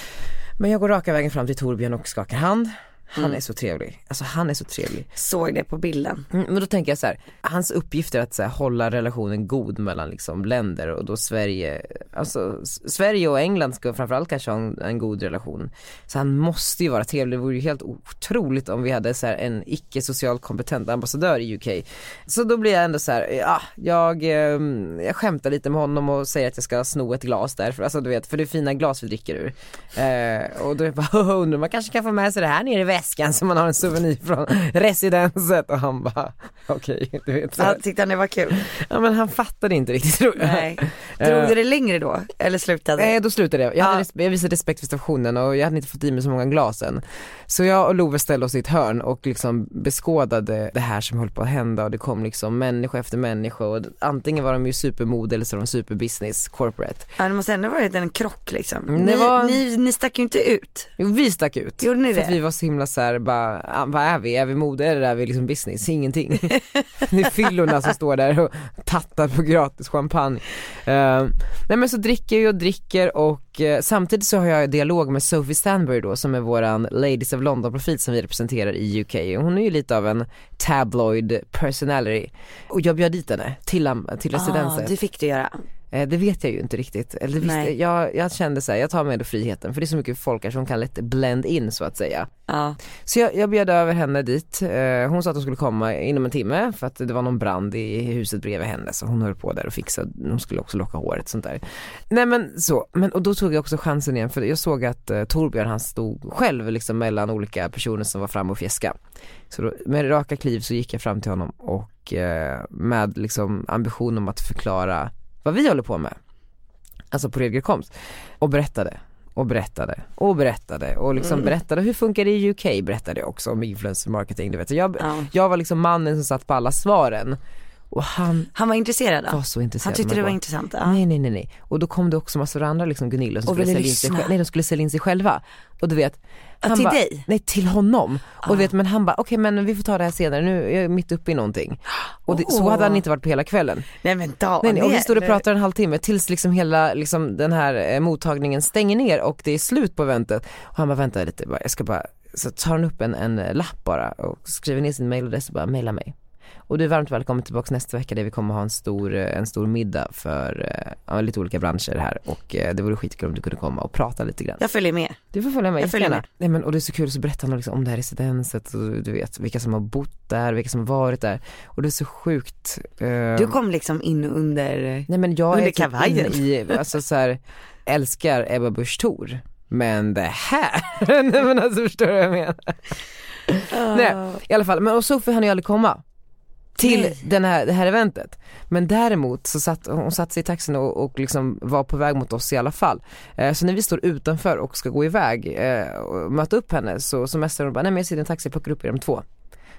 Speaker 1: Men jag går raka vägen fram till Torbjörn och skakar hand. Han
Speaker 3: Mm.
Speaker 1: är så trevlig, alltså han är så trevlig.
Speaker 3: Såg det på bilden.
Speaker 1: Mm, Men då tänker jag så här, hans uppgift är att så här, hålla relationen god mellan liksom, länder och då Sverige, alltså S- Sverige och England ska framförallt kanske ha en, en god relation. Så han måste ju vara trevlig, det vore ju helt otroligt om vi hade så här, en icke socialt kompetent ambassadör i UK. Så då blir jag ändå så här, ja, jag, ehm, jag skämtar lite med honom och säger att jag ska sno ett glas där, för, alltså, du vet, för det är fina glas vi dricker ur. Eh, och då är jag bara, "Haha, undrar man kanske kan få med sig det här ner i väskan så man har en souvenir från residenset och han bara, okej, du vet. Så. här.
Speaker 3: Ja, tyckte han det var kul?
Speaker 1: Ja men han fattade inte riktigt tror jag.
Speaker 3: Nej.
Speaker 1: Eh.
Speaker 3: Drog du det längre då? Eller slutade det?
Speaker 1: Nej då slutade jag. Jag, hade
Speaker 3: Alltså, Ja.
Speaker 1: res- jag visade respekt för stationen och jag hade inte fått i mig så många glas än. Så jag och Love ställde oss i ett hörn och liksom beskådade det här som höll på att hända och det kom liksom människa efter människa och antingen var de ju supermode eller så var de superbusiness corporate.
Speaker 3: Ja, det måste ändå varit en krock liksom.
Speaker 1: Mm, det
Speaker 3: Ni,
Speaker 1: var-
Speaker 3: ni, ni stack ju inte ut.
Speaker 1: Jo vi stack ut.
Speaker 3: Gjorde ni
Speaker 1: För att
Speaker 3: det?
Speaker 1: vi var så himla såhär bara, ah, vad är vi? Är vi mode eller är vi liksom business? Ingenting. det är fyllorna som står där och tattar på gratis champagne. Eh, nej men så dricker jag och dricker och eh, samtidigt så har jag dialog med Sophie Stanbury då som är våran Ladies of London profil som vi representerar i UK. Hon är ju lite av en tabloid personality och jag bjöd dit henne till, am- till residenset.
Speaker 3: det fick Ah, du göra.
Speaker 1: Eh, Det vet jag ju inte riktigt. Eller det visste,
Speaker 3: Nej.
Speaker 1: jag, jag kände så här, jag tar med ändå friheten för det är så mycket folk här som kan lätt blend in så att säga.
Speaker 3: Ja.
Speaker 1: Så jag, jag bjöd över henne dit. Eh, Hon sa att hon skulle komma inom en timme för att det var någon brand i huset bredvid henne så hon höll på där och fixade, hon skulle också locka håret sånt där. Nej men så, men, och då tog jag också chansen igen för jag såg att eh, Torbjörn han stod själv liksom mellan olika personer som var framme och fjäska. Så då, med raka kliv så gick jag fram till honom och eh, med liksom ambition om att förklara vad vi håller på med. Alltså på regelkomst. Och berättade och berättade och berättade och liksom berättade hur funkar det i UK berättade jag också om influencer marketing du vet. Så Jag,
Speaker 3: Ja.
Speaker 1: jag var liksom mannen som satt på alla svaren. Och Och han
Speaker 3: Han var intresserad då?
Speaker 1: var så intresserad Mm.
Speaker 3: Han
Speaker 1: av
Speaker 3: tyckte
Speaker 1: Margot.
Speaker 3: det var intressant. Ja.
Speaker 1: Nej nej nej nej. Och då kom det också massor av andra liksom Gunilla som
Speaker 3: Och
Speaker 1: skulle
Speaker 3: ville
Speaker 1: sälja in sig
Speaker 3: lyssna.
Speaker 1: själva. Nej de skulle sälja in sig själva. Och du vet.
Speaker 3: Ja, till
Speaker 1: bara-
Speaker 3: dig?
Speaker 1: Nej till honom. Och du vet men han bara okej men vi får ta det här senare nu är jag mitt uppe i någonting. Och det, så
Speaker 3: Åh.
Speaker 1: hade han inte varit på hela kvällen.
Speaker 3: Nej men Daniel.
Speaker 1: Nej, nej, och vi stod och pratade en halvtimme tills liksom hela liksom, den här eh, mottagningen stänger ner och det är slut på eventet. Och han bara vänta lite, bara, jag ska bara, så tar han upp en, en eh, lapp bara och skriver ner sin mailadress och bara mejla mig. Och du är varmt välkommen tillbaka nästa vecka där vi kommer ha en stor, eh, en stor middag för eh, ja, lite olika branscher här och eh, det vore skitkul om du kunde komma och prata lite grann.
Speaker 3: Jag följer med.
Speaker 1: Du får följa med,
Speaker 3: Jag följer
Speaker 1: jättegärna.
Speaker 3: med.
Speaker 1: Nej, men, och det är så kul, så berättar han liksom om det här residenset och du vet vilka som har bott där, vilka som har varit där och det är så sjukt. eh,
Speaker 3: Du kom liksom in under,
Speaker 1: Nej men jag
Speaker 3: Under
Speaker 1: är typ
Speaker 3: kavajen.
Speaker 1: inne i, alltså så här, älskar Ebba Busch Thor. Men det här, nej men alltså förstår du vad jag menar? Nej i alla fall, men och Sofie hann ju aldrig komma till
Speaker 3: Nej.
Speaker 1: den här, det här eventet. Men däremot så satt hon satt sig i taxin och, och liksom var på väg mot oss i alla fall. Eh, så när vi står utanför och ska gå iväg eh, och möta upp henne så, så mästrar hon bara, nej men jag sitter i en taxi, jag plockar upp er om två.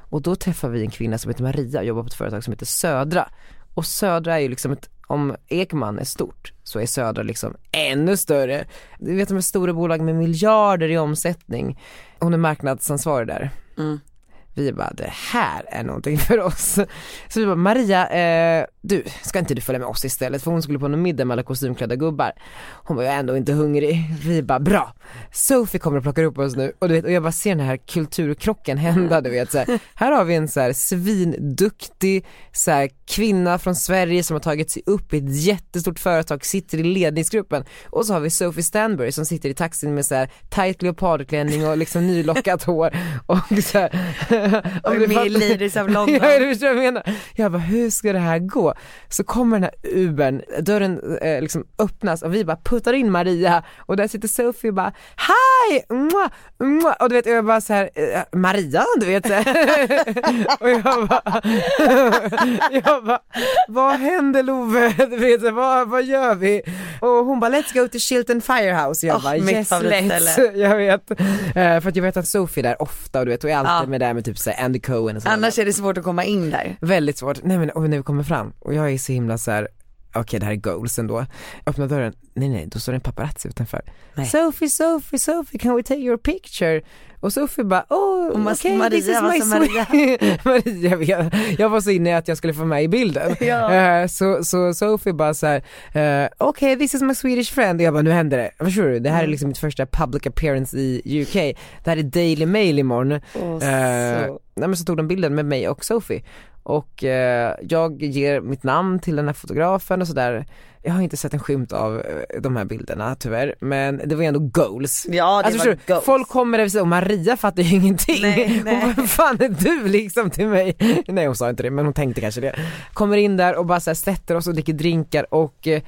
Speaker 1: Och då träffar vi en kvinna som heter Maria och jobbar på ett företag som heter Södra. Och Södra är ju liksom ett, om Ekman är stort så är Södra liksom ännu större. Du vet de här stora bolag med miljarder i omsättning. Hon är marknadsansvarig där. Vi bara, det här är någonting för oss. Så vi bara, Maria, eh, du, ska inte du följa med oss istället? För hon skulle på någon middag med alla kostymklädda gubbar. Hon var jag är ändå inte hungrig. Vi bara, bra. Sophie kommer och plockar upp oss nu. Och, du vet, och jag bara ser den här kulturkrocken hända, du vet. Så här, här har vi en så här svinduktig så här, kvinna från Sverige som har tagit sig upp i ett jättestort företag, sitter i ledningsgruppen. Och så har vi Sophie Stanbury som sitter i taxin med så här tight leopardklänning och liksom nylockat hår. Och så här,
Speaker 3: och
Speaker 1: du
Speaker 3: med i
Speaker 1: fattar-
Speaker 3: Ladies of London.
Speaker 1: Ja, du förstår vad jag menar. Jag bara, hur ska det här gå? Så kommer den här Ubern, dörren eh, liksom öppnas och vi bara puttar in Maria och där sitter Sophie och bara, hej! Mwah, mwah. Och du vet, jag bara så här, eh, Maria, du vet. Så här. och jag bara, jag bara, vad händer Love? Du vet, så här, vad, vad gör vi? Och hon bara, let's go to Chilton Firehouse. Jag
Speaker 3: Åh,
Speaker 1: bara,
Speaker 3: mitt
Speaker 1: yes
Speaker 3: favoritställe."
Speaker 1: let's. Jag vet. Eh, för att jag vet att Sophie är där ofta och du vet, och är alltid
Speaker 3: Ja.
Speaker 1: med där med typ så här Andy Cohen och sådana där.
Speaker 3: Annars är det svårt att komma in där.
Speaker 1: Väldigt svårt, nej men och när vi kommer fram och jag är så himla så här. okej det här är goals ändå. Öppna dörren, nej nej då står det en paparazzi utanför.
Speaker 3: Nej.
Speaker 1: Sophie, Sophie, Sophie can we take your picture? Och Sophie bara,
Speaker 3: Och
Speaker 1: oh
Speaker 3: Mas-
Speaker 1: okej
Speaker 3: Maria,
Speaker 1: this is
Speaker 3: vad
Speaker 1: my
Speaker 3: sa Maria?
Speaker 1: sweet. Maria, vet. jag var så inne i att jag skulle få med i bilden.
Speaker 3: Ja.
Speaker 1: Eh, så, så Sophie bara så här, eh, okej this is my Swedish friend. Och jag bara, nu händer det. Förstår du? Det här är
Speaker 3: Mm.
Speaker 1: liksom mitt första public appearance i UK. Det här är Daily Mail imorgon.
Speaker 3: Och
Speaker 1: Eh,
Speaker 3: så.
Speaker 1: nej, men så tog de bilden med mig och Sophie och eh, jag ger mitt namn till den här fotografen och sådär. Jag har inte sett en skymt av eh, de här bilderna tyvärr men det var ju ändå goals.
Speaker 3: Ja det
Speaker 1: Alltså,
Speaker 3: var
Speaker 1: förstår du?
Speaker 3: goals.
Speaker 1: folk kommer och säger och Maria fattar ju ingenting.
Speaker 3: Nej, nej.
Speaker 1: Hon bara, vad fan är du liksom till mig? Nej hon sa inte det men hon tänkte kanske det. Kommer in där och bara så här, sätter oss och dricker drinkar och eh,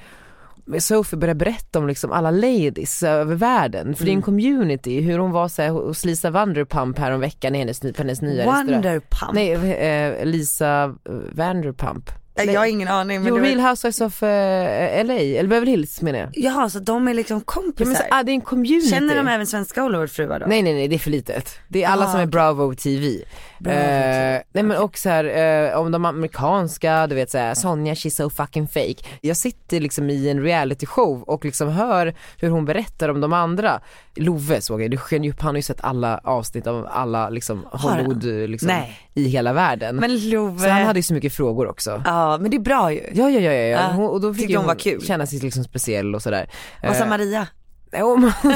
Speaker 1: Sophie börjar berätta om liksom alla ladies över världen, för det är
Speaker 3: Mm.
Speaker 1: en community, hur hon var så här, hos Lisa Vanderpump häromveckan i hennes, ny- på hennes nya restaurang.
Speaker 3: Wonderpump. Nej,
Speaker 1: Nej, eh, Lisa eh, Vanderpump.
Speaker 3: jag har ingen aning. Men
Speaker 1: Jo,
Speaker 3: det var-
Speaker 1: Real Housewives of eh, LA, eller Beverly Hills menar jag.
Speaker 3: Jaha så de är liksom
Speaker 1: Ja, men så,
Speaker 3: kompisar.
Speaker 1: ah, det är en community.
Speaker 3: Känner de även svenska Hollywoodfruar då?
Speaker 1: Nej nej nej det är för litet. Det är alla
Speaker 3: Ah,
Speaker 1: som är
Speaker 3: okej.
Speaker 1: Bravo TV. eh, nej men och så här, eh, om de amerikanska, du vet såhär Sonja she's so fucking fake. Jag sitter liksom i en reality show och liksom hör hur hon berättar om de andra. Love såg jag, du sken ju upp, han har ju sett alla avsnitt av alla liksom
Speaker 3: han?
Speaker 1: Hollywood eh, liksom,
Speaker 3: Nej.
Speaker 1: i hela världen.
Speaker 3: Men Love.
Speaker 1: så han hade ju så mycket frågor också.
Speaker 3: Ja men det är bra ju.
Speaker 1: Ja ja ja ja, ja.
Speaker 3: Ah,
Speaker 1: Hon, och då fick
Speaker 3: tyckte
Speaker 1: ju
Speaker 3: hon var kul.
Speaker 1: känna sig liksom speciell och sådär.
Speaker 3: Vad sa
Speaker 1: Eh,
Speaker 3: Maria?
Speaker 1: Nej, Och, man,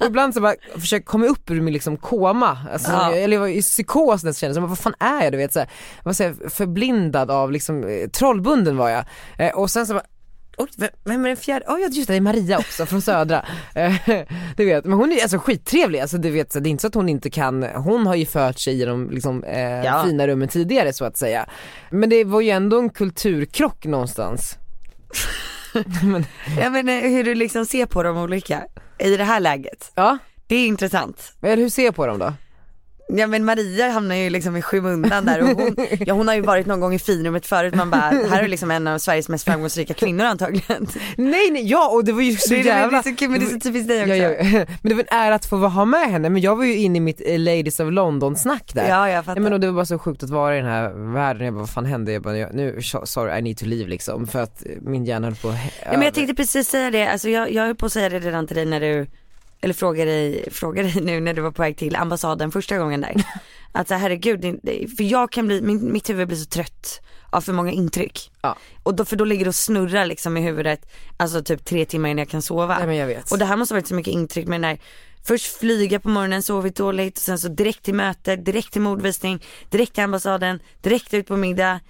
Speaker 1: och ibland så bara försöker komma upp ur min liksom koma, alltså,
Speaker 3: Ja.
Speaker 1: eller jag var i psykos nästan kändes det som, vad fan är jag du vet så här, vad säger jag, förblindad av liksom, eh, trollbunden var jag. Eh, och sen så bara Oj, vem- vem är den fjärde? Oh, ja just det, det är Maria också från Södra. Eh, du vet, men hon är alltså skittrevlig, alltså, du vet, så det är inte så att hon inte kan, hon har ju fört sig genom liksom, eh,
Speaker 3: Ja.
Speaker 1: fina rummen tidigare så att säga. Men det var ju ändå en kulturkrock någonstans.
Speaker 3: Ja men eh, hur du liksom ser på dem olika i det här läget.
Speaker 1: Ja,
Speaker 3: Det är intressant.
Speaker 1: eller hur ser jag på dem då?
Speaker 3: Ja men Maria hamnar ju liksom i skymundan där och hon, ja, hon har ju varit någon gång i finrummet förut man bara, här är liksom en av Sveriges mest framgångsrika kvinnor antagligen.
Speaker 1: Nej nej, ja och det var ju så
Speaker 3: Det är, det
Speaker 1: jävla
Speaker 3: är så kul men det är så typiskt dig också.
Speaker 1: Ja, ja. Men det var en ära att få ha med henne, men jag var ju inne i mitt eh, Ladies of London snack där.
Speaker 3: Ja, jag
Speaker 1: Nej,
Speaker 3: fattar.
Speaker 1: men och det var bara så sjukt att vara i den här världen, jag bara vad fan hände? Jag bara, jag- nu, sorry I need to leave liksom för att eh, min hjärna höll på att hä-
Speaker 3: Ja, men jag tänkte precis säga det, alltså jag, jag höll på att säga det redan till dig när du, eller fråga dig, fråga dig nu när du var på väg till ambassaden första gången där. Att så här, herregud, det- det- för jag kan bli, min, mitt huvud blir så trött av för många intryck.
Speaker 1: Ja.
Speaker 3: Och då, för då ligger det och snurrar liksom i huvudet, alltså typ tre timmar innan jag kan sova.
Speaker 1: Nej, men jag vet.
Speaker 3: Och det här måste ha varit så mycket intryck med den här, först flyga på morgonen, sovit dåligt, och sen så direkt till möte, direkt till mordvisning, direkt till ambassaden, direkt ut på middag,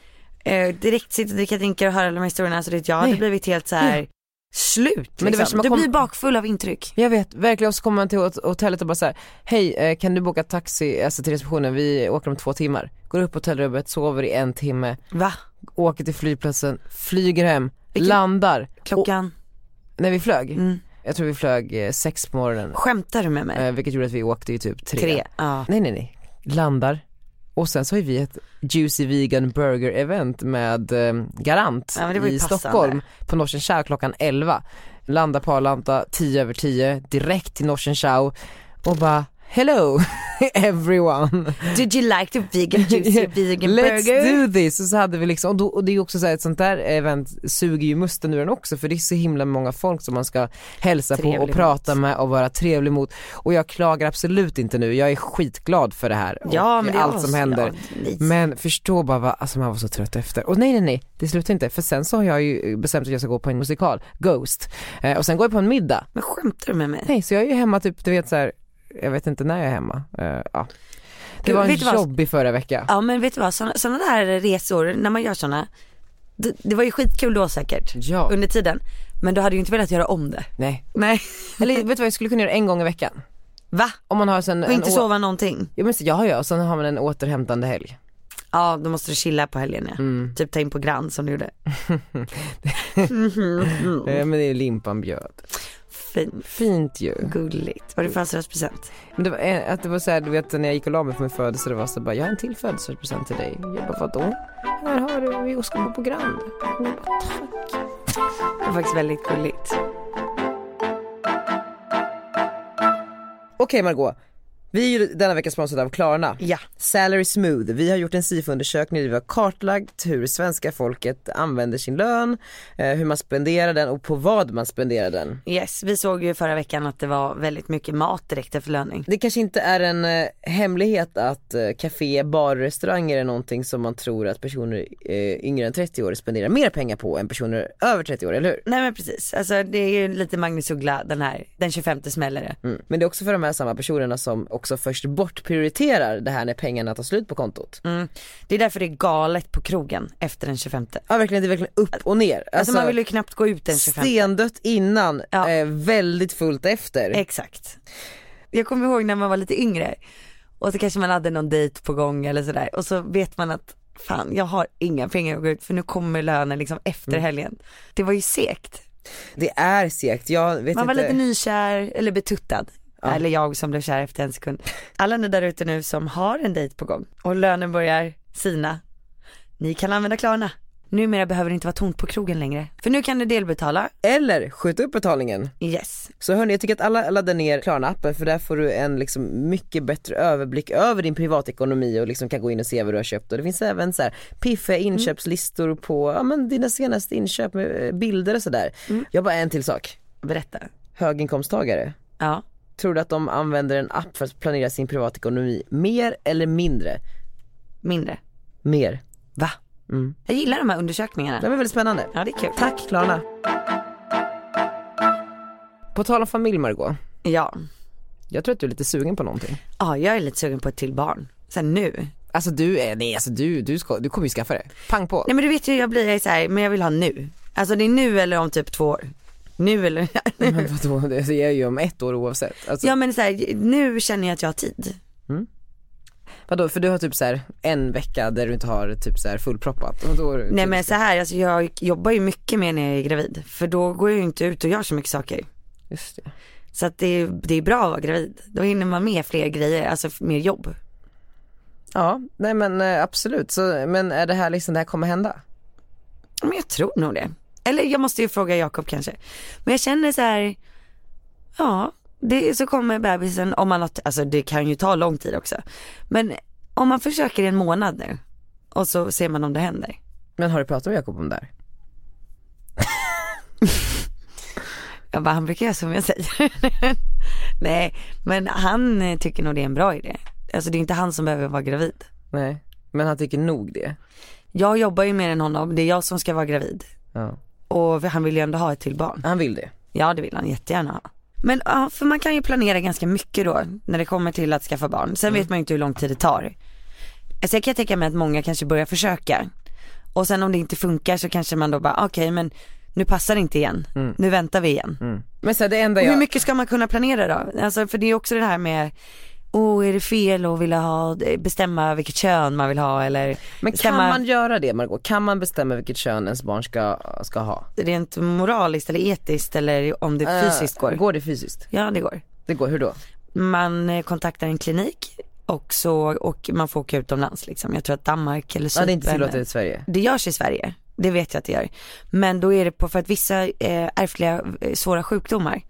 Speaker 3: eh, direkt sitta och dricka drinkar och höra alla de här historierna. Så det, jag hade
Speaker 1: Nej.
Speaker 3: blivit helt så här slut. Liksom.
Speaker 1: var som att
Speaker 3: du
Speaker 1: kom-
Speaker 3: blir bakfull av intryck.
Speaker 1: Jag vet, verkligen. Och så kommer man till hot- hotellet och bara såhär, hej eh, kan du boka taxi alltså, till receptionen, vi åker om två timmar. Går upp på hotellrummet, sover i en timme,
Speaker 3: Va?
Speaker 1: åker till flygplatsen, flyger hem,
Speaker 3: Vilken-
Speaker 1: landar.
Speaker 3: Klockan?
Speaker 1: Och, när vi flög,
Speaker 3: Mm.
Speaker 1: jag tror vi flög eh, sex på morgonen,
Speaker 3: Skämtar du med mig?
Speaker 1: eh, vilket gjorde att vi åkte i typ tre.
Speaker 3: Tre. Ja.
Speaker 1: Nej nej nej, landar. Och sen så har vi ett Juicy Vegan Burger event med eh, Garant
Speaker 3: Ja, men det var ju
Speaker 1: i
Speaker 3: passande.
Speaker 1: Stockholm på Norsen Chow klockan 11. Landar på Arlanda 10 över 10, direkt till Norsen Chow och bara hello everyone.
Speaker 3: Did you like the vegan juicy vegan
Speaker 1: Let's
Speaker 3: burger?
Speaker 1: do this! Och så hade vi liksom, och, då, och det är ju också så här, ett sånt där event suger ju musten ur en också för det är så himla många folk som man ska hälsa på och
Speaker 3: Trevlig
Speaker 1: prata med och vara trevlig mot. Och jag klagar absolut inte nu, jag är skitglad för det här och
Speaker 3: Ja men det är
Speaker 1: allt som
Speaker 3: as-
Speaker 1: händer.
Speaker 3: ja, nice.
Speaker 1: Men förstå bara vad, alltså man var så trött efter. Och nej nej nej, det slutar inte. För sen så har jag ju bestämt att jag ska gå på en musikal, Ghost. Eh, och sen går jag på en middag.
Speaker 3: men skämtar du med mig?
Speaker 1: Nej så jag är ju hemma typ, du vet så här, jag vet inte när jag är hemma. Eh, ja. Det
Speaker 3: Gud,
Speaker 1: var en
Speaker 3: vet du vad-
Speaker 1: jobbig förra vecka.
Speaker 3: Ja men vet du vad, sådana såna där resor, när man gör sådana, det, det var ju skitkul då säkert.
Speaker 1: Ja.
Speaker 3: Under tiden. Men du hade ju inte velat göra om det.
Speaker 1: Nej.
Speaker 3: Nej.
Speaker 1: Eller vet du vad jag skulle kunna göra en gång i veckan?
Speaker 3: Va?
Speaker 1: Om man har sen
Speaker 3: Och
Speaker 1: en
Speaker 3: inte
Speaker 1: å-
Speaker 3: sova någonting?
Speaker 1: Jo men så- ja ja, och sen har man en återhämtande helg.
Speaker 3: Ja då måste du chilla på helgen ja. Typ ta in på Grand som du gjorde.
Speaker 1: Eh, men det är limpan bjöd.
Speaker 3: Fint.
Speaker 1: Fint ju.
Speaker 3: Gulligt. Var det födelsedagspresent?
Speaker 1: Men det var, eh, att det var såhär, du vet när jag gick och la mig på min födelse det var så bara, jag har en till födelsedagspresent till dig. Jag bara, vadå? Här har du, vi ska gå på Grand. Hon bara, tack.
Speaker 3: Det var faktiskt väldigt gulligt.
Speaker 1: Okej Margot, vi är ju denna vecka sponsrade av Klarna.
Speaker 3: Ja.
Speaker 1: Salary Smooth, vi har gjort en SIFO-undersökning där vi har kartlagt hur svenska folket använder sin lön, eh, hur man spenderar den och på vad man spenderar den.
Speaker 3: Yes, vi såg ju förra veckan att det var väldigt mycket mat direkt efter löning.
Speaker 1: Det kanske inte är en eh, hemlighet att eh, café, bar, restauranger är någonting som man tror att personer eh, yngre än 30 år spenderar mer pengar på än personer över 30 år, eller hur?
Speaker 3: Nej men precis, alltså det är ju lite Magnus Uggla den här, den 25 smäller det.
Speaker 1: Mm. Men det är också för de här samma personerna som också först bortprioriterar det här när pengarna tar slut på kontot.
Speaker 3: Mm. Det är därför det är galet på krogen efter den 25. Alltså,
Speaker 1: Ja verkligen, det är verkligen upp och ner. Alltså,
Speaker 3: man vill ju knappt gå ut den 25.
Speaker 1: Stendött innan,
Speaker 3: Ja.
Speaker 1: eh, väldigt fullt efter.
Speaker 3: Exakt. Jag kommer ihåg när man var lite yngre och så kanske man hade någon dejt på gång eller sådär och så vet man att fan jag har inga pengar att gå ut för nu kommer lönen liksom
Speaker 1: Mm.
Speaker 3: efter helgen. Det var ju segt.
Speaker 1: det är segt, jag vet
Speaker 3: Man var
Speaker 1: inte.
Speaker 3: lite nykär eller betuttad. Eller jag som blev kär efter en sekund. Alla ni där ute nu som har en dejt på gång och lönen börjar sina. Ni kan använda Klarna. Numera behöver det inte vara tomt på krogen längre. För nu kan du delbetala.
Speaker 1: Eller skjut upp betalningen.
Speaker 3: Yes.
Speaker 1: Så hörni, jag tycker att alla laddar ner Klarna-appen för där får du en liksom mycket bättre överblick över din privatekonomi och liksom kan gå in och se vad du har köpt och det finns även så här piffiga inköpslistor på ja, men dina senaste inköp med eh, bilder och sådär. Jag har bara en till sak,
Speaker 3: Berätta.
Speaker 1: höginkomsttagare.
Speaker 3: Ja.
Speaker 1: Tror du att de använder en app för att planera sin privatekonomi mer eller mindre?
Speaker 3: Mindre.
Speaker 1: Mer.
Speaker 3: Va? Jag gillar de här undersökningarna.
Speaker 1: Det var väldigt spännande.
Speaker 3: Ja det är kul.
Speaker 1: Tack Klarna. På tal om familj Margot,
Speaker 3: Ja.
Speaker 1: jag tror att du är lite sugen på någonting.
Speaker 3: Ja jag är lite sugen på ett till barn. Sen nu.
Speaker 1: Alltså du, är, nej alltså du, du, ska, du kommer ju skaffa det. Pang på.
Speaker 3: Nej men du vet ju jag blir jag är så här, men jag vill ha nu. Alltså det är nu eller om typ två år. Nu eller
Speaker 1: Men vadå, det är ju om ett år oavsett. Alltså,
Speaker 3: Ja men så här, nu känner jag att jag har tid.
Speaker 1: Vadå, för du har typ så här en vecka där du inte har typ så här fullproppat. Typ- Och då,
Speaker 3: Nej men så här, alltså jag jobbar ju mycket mer när jag är gravid. För då går jag ju inte ut och gör så mycket saker.
Speaker 1: Just det.
Speaker 3: Så att det, är- det är bra att vara gravid. Då hinner man med fler grejer, alltså mer jobb.
Speaker 1: Ja, nej men eh, absolut. Så, men är det här liksom, det här kommer hända?
Speaker 3: Men jag tror nog det. Eller jag måste ju fråga Jakob kanske. Men jag känner så här, ja, det, så kommer bebisen om man har, alltså det kan ju ta lång tid också. Men om man försöker i en månad nu och så ser man om det händer.
Speaker 1: Men har du pratat med Jakob om det här?
Speaker 3: Jag bara, han brukar göra som jag säger. Nej, men han eh, tycker nog det är en bra idé. Alltså det är inte han som behöver vara gravid.
Speaker 1: Nej, men han tycker nog det.
Speaker 3: Jag jobbar ju mer än honom, det är jag som ska vara gravid.
Speaker 1: Ja.
Speaker 3: Och han vill ju ändå ha ett till barn.
Speaker 1: Han vill det.
Speaker 3: Ja det vill han jättegärna ha. Men ja, för man kan ju planera ganska mycket då när det kommer till att skaffa barn.
Speaker 1: Mm.
Speaker 3: Sen vet man ju inte hur lång tid det tar. Sen kan jag tänka mig att många kanske börjar försöka. Och sen om det inte funkar så kanske man då bara, okej men nu passar det inte igen.
Speaker 1: Mm.
Speaker 3: Nu väntar vi igen.
Speaker 1: Men så här, det enda
Speaker 3: Och
Speaker 1: jag...
Speaker 3: hur mycket ska man kunna planera då? Alltså för det är ju också det här med, oh är det fel att vilja ha, bestämma vilket kön man vill ha eller
Speaker 1: Men kan
Speaker 3: bestämma
Speaker 1: man göra det Margot? Kan man bestämma vilket kön ens barn ska, ska ha?
Speaker 3: rent moraliskt eller etiskt eller om det fysiskt
Speaker 1: Eh,
Speaker 3: går.
Speaker 1: Går det fysiskt?
Speaker 3: Ja det går.
Speaker 1: Det går, hur då?
Speaker 3: man eh, kontaktar en klinik och, så, och man får åka utomlands liksom. Jag tror att Danmark eller Cypern.
Speaker 1: Ja, det är inte tillåtet i Sverige.
Speaker 3: Det görs i Sverige. Det vet jag att det gör. Men då är det på, för att vissa eh, ärftliga eh, svåra sjukdomar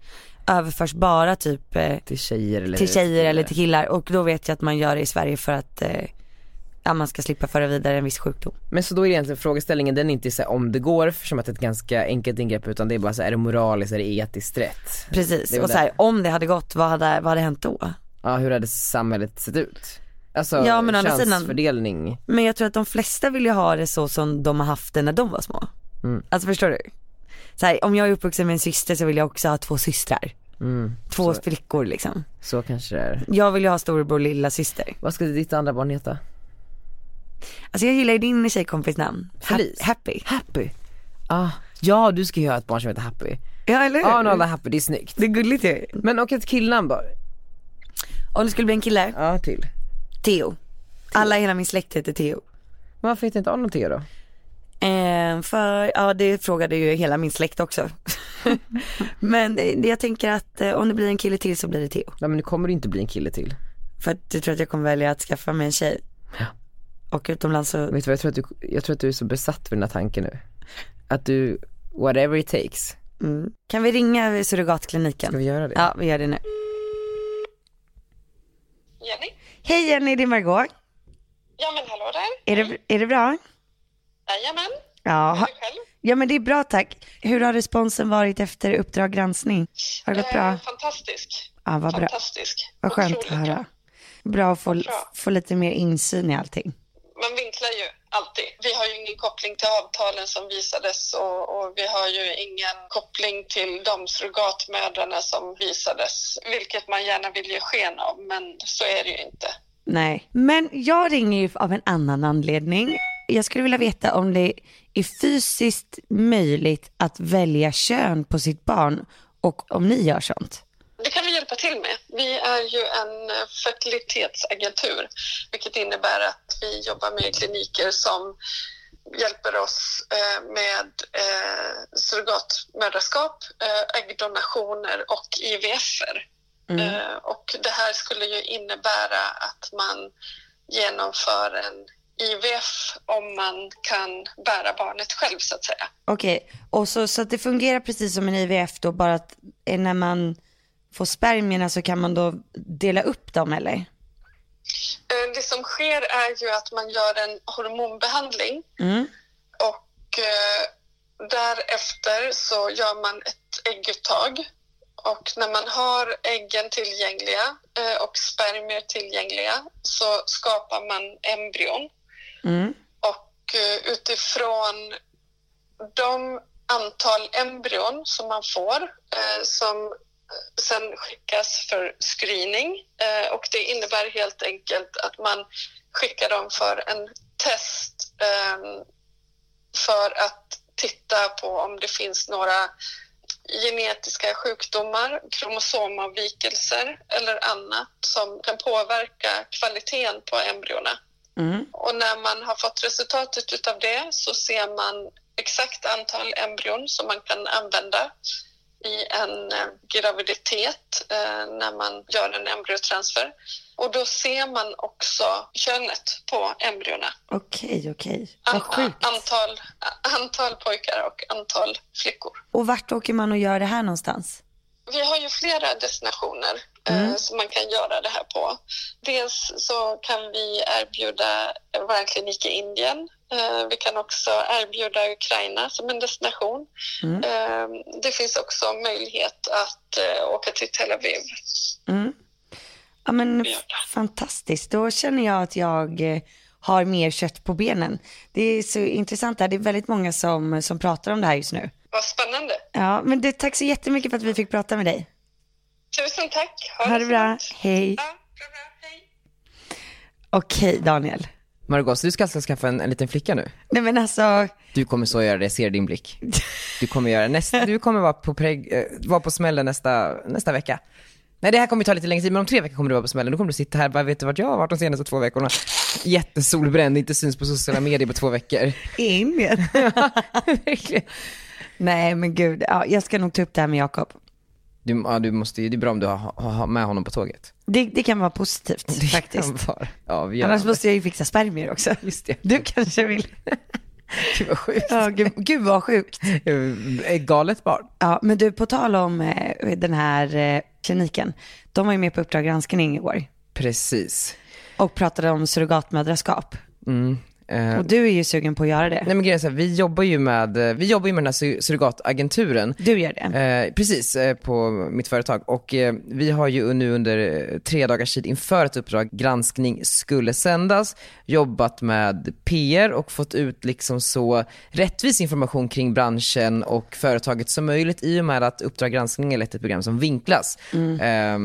Speaker 3: överförs bara typ eh,
Speaker 1: Till tjejer eller
Speaker 3: till tjejer eller till killar och då vet jag att man gör det i Sverige för att eh, ja, man ska slippa föra vidare en viss sjukdom.
Speaker 1: Men så då är egentligen frågeställningen den är inte så här, om det går, som att det är ett ganska enkelt ingrepp utan det är bara så här, är det moraliskt, är det etiskt rätt?
Speaker 3: Precis,
Speaker 1: Det är väl
Speaker 3: och så här, om det hade gått, vad hade, vad hade hänt då?
Speaker 1: Ja hur hade samhället sett ut? Alltså
Speaker 3: Ja, men å andra sidan-
Speaker 1: könsfördelning.
Speaker 3: Men jag tror att de flesta vill ju ha det så som de har haft det när de var små.
Speaker 1: Mm.
Speaker 3: Alltså förstår du? Så här, om jag är uppvuxen med en syster så vill jag också ha två systrar.
Speaker 1: Mm.
Speaker 3: två flickor liksom.
Speaker 1: Så kanske det är.
Speaker 3: Jag vill ju ha storebror och lilla syster.
Speaker 1: Vad skulle ditt andra barn heta?
Speaker 3: Alltså jag gillar ju din tjejkompis namn. Ha-
Speaker 1: Felice.
Speaker 3: Happy.
Speaker 1: Happy. Ah, ja du ska ju ha ett barn som heter Happy.
Speaker 3: Ja eller
Speaker 1: Ja, ah,
Speaker 3: hur?
Speaker 1: no, Happy, det är snyggt.
Speaker 3: det är gulligt ju.
Speaker 1: Men och ett killnamn då?
Speaker 3: Om det skulle bli en kille,
Speaker 1: Ja, till.
Speaker 3: Theo. Alla i hela min släkt heter Theo.
Speaker 1: Varför heter inte Arnold Theo då?
Speaker 3: Eh, för, ja det frågade ju hela min släkt också. Men det, det- jag tänker att eh, om det blir en kille till så blir det Theo.
Speaker 1: Nej men nu kommer det inte bli en kille till.
Speaker 3: För att du tror att jag kommer välja att skaffa mig en tjej.
Speaker 1: Ja.
Speaker 3: Och utomlands så,
Speaker 1: Vet du vad, jag tror, att du, jag tror att du är så besatt vid den här tanken nu. Att du, whatever it takes,
Speaker 3: mm. kan vi ringa surrogatkliniken?
Speaker 1: ska vi göra det?
Speaker 3: Ja, vi gör det nu.
Speaker 4: Jenny?
Speaker 3: Hej Jenny, det är Margot.
Speaker 4: Ja men hallå där.
Speaker 3: Är det, är det bra?
Speaker 4: Jajamän.
Speaker 3: Ja, ha,
Speaker 4: Du själv?
Speaker 3: ja, men det är bra tack. Hur har responsen varit efter Uppdrag granskning? Har det gått bra?
Speaker 4: Eh, fantastisk.
Speaker 3: Ja, vad bra.
Speaker 4: Fantastisk.
Speaker 3: Vad skönt att
Speaker 4: Otroligt bra.
Speaker 3: höra. Bra att få,
Speaker 4: Bra.
Speaker 3: få lite mer insyn i allting.
Speaker 4: Man vinklar ju alltid. Vi har ju ingen koppling till avtalen som visades och, och vi har ju ingen koppling till de surrogatmödrarna som visades. Vilket man gärna vill ge sken av men så är det ju inte.
Speaker 3: Nej. Men jag ringer ju av en annan anledning. Jag skulle vilja veta om det är fysiskt möjligt att välja kön på sitt barn och om ni gör sånt.
Speaker 4: Det kan vi hjälpa till med. Vi är ju en eh, fertilitetsagentur vilket innebär att vi jobbar med kliniker som hjälper oss eh, med eh, surrogatmödraskap, eh, äggdonationer och IVF-er. Eh, och det här skulle ju innebära att man genomför en IVF om man kan bära barnet själv så att säga.
Speaker 3: Okej, och så, så att det fungerar precis som en IVF då, bara att eh, när man får spermierna så kan man då dela upp dem eller?
Speaker 4: Eh, Det som sker är ju att man gör en hormonbehandling
Speaker 3: Mm.
Speaker 4: och eh, därefter så gör man ett ägguttag. Och när man har äggen tillgängliga eh, och spermier tillgängliga så skapar man embryon. Och eh, utifrån de antal embryon som man får eh, som eh, sen skickas för screening eh, och det innebär helt enkelt att man skickar dem för en test ehm, för att titta på om det finns några genetiska sjukdomar, kromosomavvikelser eller annat som kan påverka kvaliteten på embryona. Och när man har fått resultatet utav det så ser man exakt antal embryon som man kan använda i en eh, graviditet eh, när man gör en embryotransfer. Och då ser man också könet på embryona.
Speaker 3: Okej, okej.
Speaker 4: An- antal, antal pojkar och antal flickor.
Speaker 3: Och vart åker man och gör det här någonstans?
Speaker 4: Vi har ju flera destinationer eh,
Speaker 3: Mm.
Speaker 4: som man kan göra det här på. Dels så kan vi erbjuda vår klinik i Indien. Eh, vi kan också erbjuda Ukraina som en destination.
Speaker 3: Mm.
Speaker 4: Eh, det finns också möjlighet att eh, åka till Tel Aviv.
Speaker 3: Ja men f- fantastiskt, då känner jag att jag eh, har mer kött på benen. Det är så intressant det här, det är väldigt många som, som pratar om det här just nu.
Speaker 4: Vad spännande!
Speaker 3: Ja men du, tack så jättemycket för att vi fick prata med dig.
Speaker 4: Tusen tack!
Speaker 3: Ha det
Speaker 4: så
Speaker 3: bra,
Speaker 4: gott.
Speaker 3: hej.
Speaker 4: Ja, bra, bra. Hej!
Speaker 3: Okej Daniel.
Speaker 1: Margot, så du ska alltså skaffa en, en liten flicka nu?
Speaker 3: Nej men alltså,
Speaker 1: Du kommer så göra det, jag ser din blick. Du kommer göra nästa, du kommer vara på, preg, eh, vara på smällen nästa, nästa vecka. Nej det här kommer ju ta lite längre tid, men om tre veckor kommer du vara på smällen. Då kommer du sitta här och bara, vet du vart jag har varit de senaste två veckorna? Jättesolbränd, inte syns på sociala medier på två veckor.
Speaker 3: i Indien.
Speaker 1: Verkligen.
Speaker 3: Nej men gud, ja, jag ska nog ta upp det här med Jakob.
Speaker 1: Du, ja, du måste, ju- det är bra om du har, har, har med honom på tåget.
Speaker 3: Det, det kan vara positivt
Speaker 1: Det
Speaker 3: faktiskt.
Speaker 1: kan vara- Ja, vi gör
Speaker 3: Annars
Speaker 1: det.
Speaker 3: måste jag ju fixa spermier också.
Speaker 1: Just det.
Speaker 3: Du kanske vill?
Speaker 1: Gud vad sjukt.
Speaker 3: Ja, gud, gud vad sjukt.
Speaker 1: Eh, Galet barn.
Speaker 3: Ja, men du, på tal om eh, den här eh, kliniken. De var ju med på Uppdrag granskning igår
Speaker 1: Precis.
Speaker 3: och pratade om surrogatmödraskap.
Speaker 1: Eh,
Speaker 3: Och du är ju sugen på att göra det.
Speaker 1: Nej men grejen är så här, vi jobbar ju med, eh, vi jobbar ju med den här sur- surrogatagenturen.
Speaker 3: Du gör det.
Speaker 1: Eh, precis, eh, på mitt företag. Och eh, vi har ju nu under eh, tre dagars tid inför att Uppdrag granskning skulle sändas jobbat med PR och fått ut liksom så rättvis information kring branschen och företaget som möjligt i och med att Uppdrag granskning är lätt ett program som vinklas. Eh,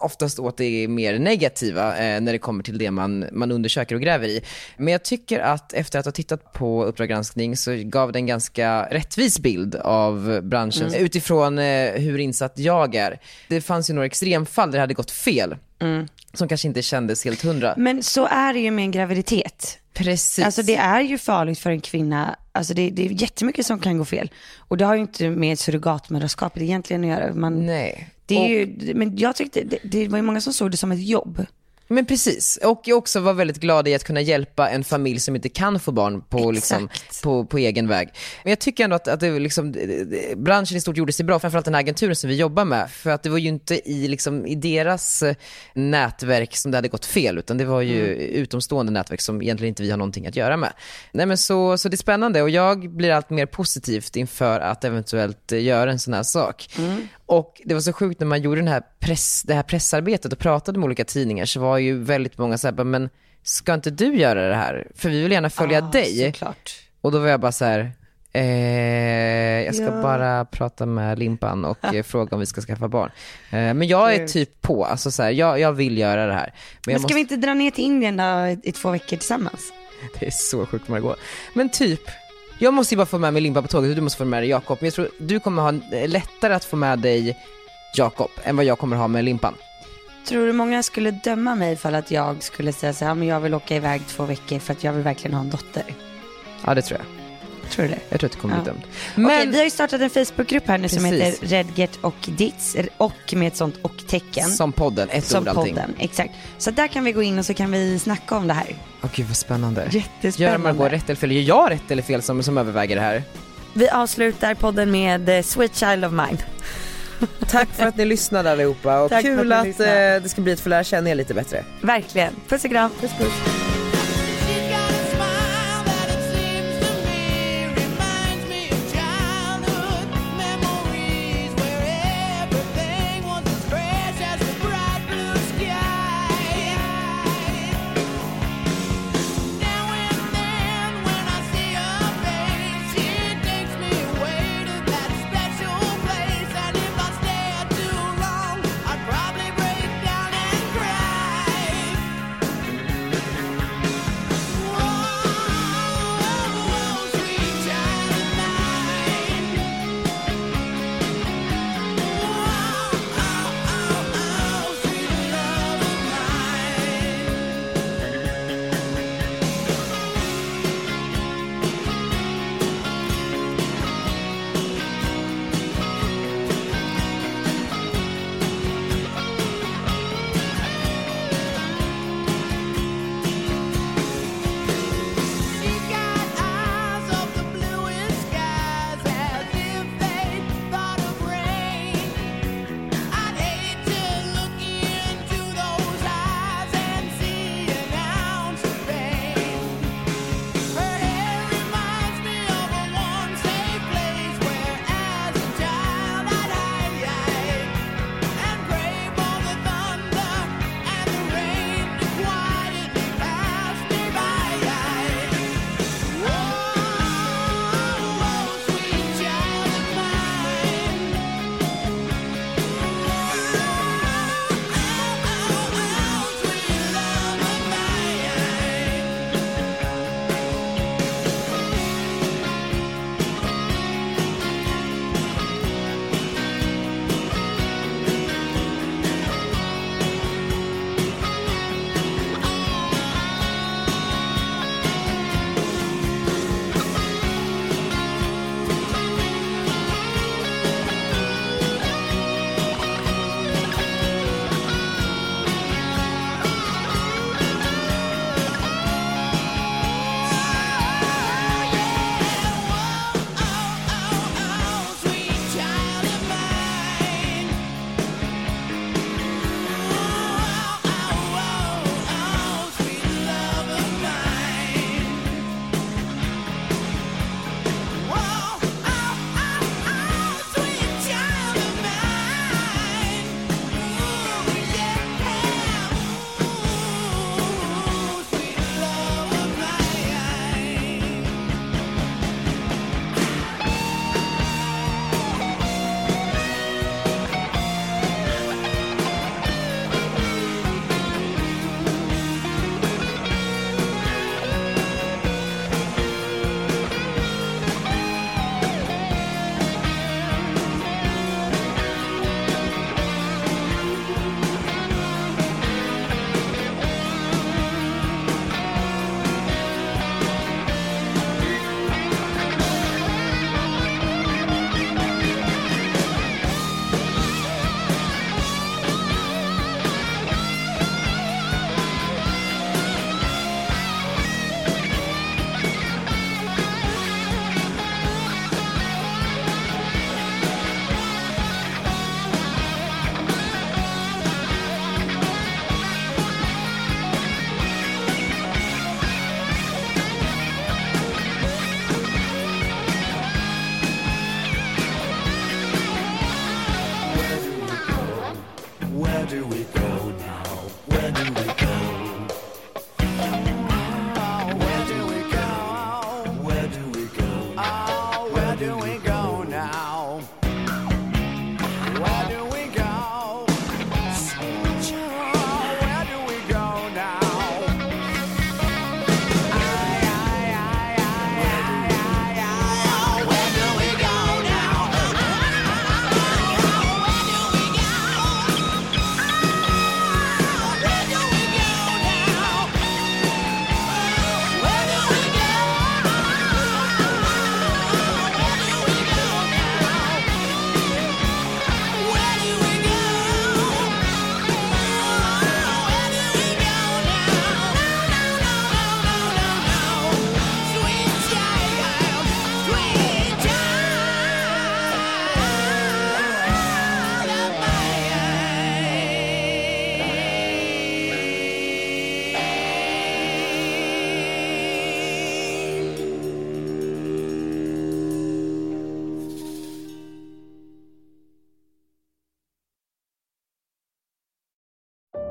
Speaker 1: oftast åt det mer negativa eh, när det kommer till det man, man undersöker och gräver i. Men jag tycker att efter att ha tittat på Uppdrag granskning så gav den ganska rättvis bild av branschen
Speaker 3: Mm.
Speaker 1: utifrån eh, hur insatt jag är. Det fanns ju några extremfall där det hade gått fel.
Speaker 3: Mm.
Speaker 1: Som kanske inte kändes helt hundra.
Speaker 3: Men så är det ju med en graviditet.
Speaker 1: Precis.
Speaker 3: Mm. Alltså det är ju farligt för en kvinna. Alltså det, det är jättemycket som kan gå fel. Och det har ju inte med surrogatmödraskapet egentligen att göra. Man,
Speaker 1: Nej.
Speaker 3: det är
Speaker 1: Och-
Speaker 3: ju, men jag tyckte, det, det var ju många som såg det som ett jobb.
Speaker 1: Men precis, och jag också var väldigt glad i att kunna hjälpa en familj som inte kan få barn på, liksom, på, på egen väg. Men jag tycker ändå att, att det, var liksom, det- det- branschen i stort gjorde sig bra, framförallt den här agenturen som vi jobbar med. För att det var ju inte i, liksom, i deras eh, nätverk som det hade gått fel, utan det var ju utomstående nätverk som egentligen inte vi har någonting att göra med. Nej, men så, så det är spännande och jag blir allt mer positivt inför att eventuellt eh, göra en sån här sak. Och det var så sjukt när man gjorde den här press, det här pressarbetet och pratade med olika tidningar så var ju väldigt många så här, bara, men ska inte du göra det här? För vi vill gärna följa
Speaker 3: Ah,
Speaker 1: dig.
Speaker 3: Såklart.
Speaker 1: Och då var jag bara så här, eh, jag ska bara prata med Limpan och eh, fråga om vi ska skaffa barn. Eh, men jag är typ på, alltså så här, jag, jag vill göra det här. Men,
Speaker 3: Men
Speaker 1: jag
Speaker 3: ska
Speaker 1: måste,
Speaker 3: vi inte dra ner till Indien då i, i två veckor tillsammans?
Speaker 1: det är så sjukt man går. Men typ, jag måste ju bara få med mig Limpan på tåget och du måste få med dig Jakob. Men jag tror du kommer ha eh, lättare att få med dig Jakob än vad jag kommer ha med Limpan.
Speaker 3: Tror du många skulle döma mig ifall att jag skulle säga så här, men jag vill åka iväg två veckor för att jag vill verkligen ha en dotter?
Speaker 1: Ja det tror jag.
Speaker 3: Tror du det?
Speaker 1: Jag tror att det kommer bli
Speaker 3: Ja.
Speaker 1: dömt.
Speaker 3: Okej,
Speaker 1: Men
Speaker 3: vi har ju startat en Facebookgrupp här nu som
Speaker 1: Precis.
Speaker 3: heter Redget och Dits och med ett sånt och-tecken.
Speaker 1: som podden, ett
Speaker 3: Som
Speaker 1: ord allting.
Speaker 3: podden, exakt. Så där kan vi gå in och så kan vi snacka om det här.
Speaker 1: Åh gud vad spännande. Gör
Speaker 3: Jättespännande.
Speaker 1: Margot rätt eller fel? Gör jag rätt eller fel som, som överväger det här?
Speaker 3: Vi avslutar podden med eh, Sweet Child of Mine.
Speaker 1: Tack för att ni lyssnade allihopa och
Speaker 3: Tack för
Speaker 1: kul
Speaker 3: att ni
Speaker 1: att,
Speaker 3: lyssnade.
Speaker 1: eh, det ska bli att få lära känna er lite bättre.
Speaker 3: Verkligen. Puss och kram.
Speaker 5: She's got a smile that it seems to me reminds me of childhood memories where everything was as fresh as the bright blue sky. Now and then when I see her face, she takes me away to that special place. And if I stay too long, I'd probably break down and cry. Oh, oh,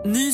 Speaker 5: Ny